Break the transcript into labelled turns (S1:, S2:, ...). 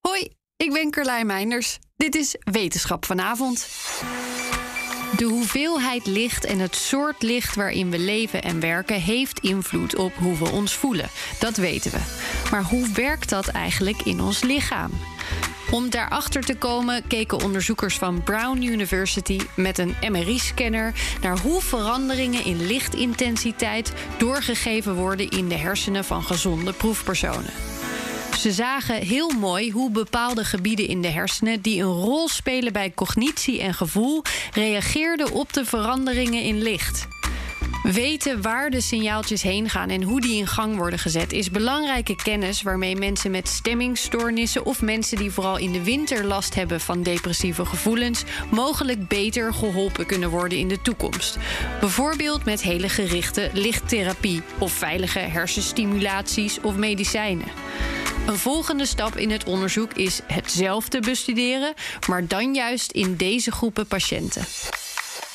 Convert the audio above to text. S1: Hoi, ik ben Carlijn Meinders. Dit is Wetenschap vanavond. De hoeveelheid licht en het soort licht waarin we leven en werken heeft invloed op hoe we ons voelen. Dat weten we. Maar hoe werkt dat eigenlijk in ons lichaam? Om daarachter te komen keken onderzoekers van Brown University met een MRI-scanner naar hoe veranderingen in lichtintensiteit doorgegeven worden in de hersenen van gezonde proefpersonen. Ze zagen heel mooi hoe bepaalde gebieden in de hersenen die een rol spelen bij cognitie en gevoel reageerden op de veranderingen in licht. Weten waar de signaaltjes heen gaan en hoe die in gang worden gezet is belangrijke kennis waarmee mensen met stemmingstoornissen of mensen die vooral in de winter last hebben van depressieve gevoelens mogelijk beter geholpen kunnen worden in de toekomst. Bijvoorbeeld met hele gerichte lichttherapie of veilige hersenstimulaties of medicijnen. Een volgende stap in het onderzoek is hetzelfde bestuderen, maar dan juist in deze groepen patiënten.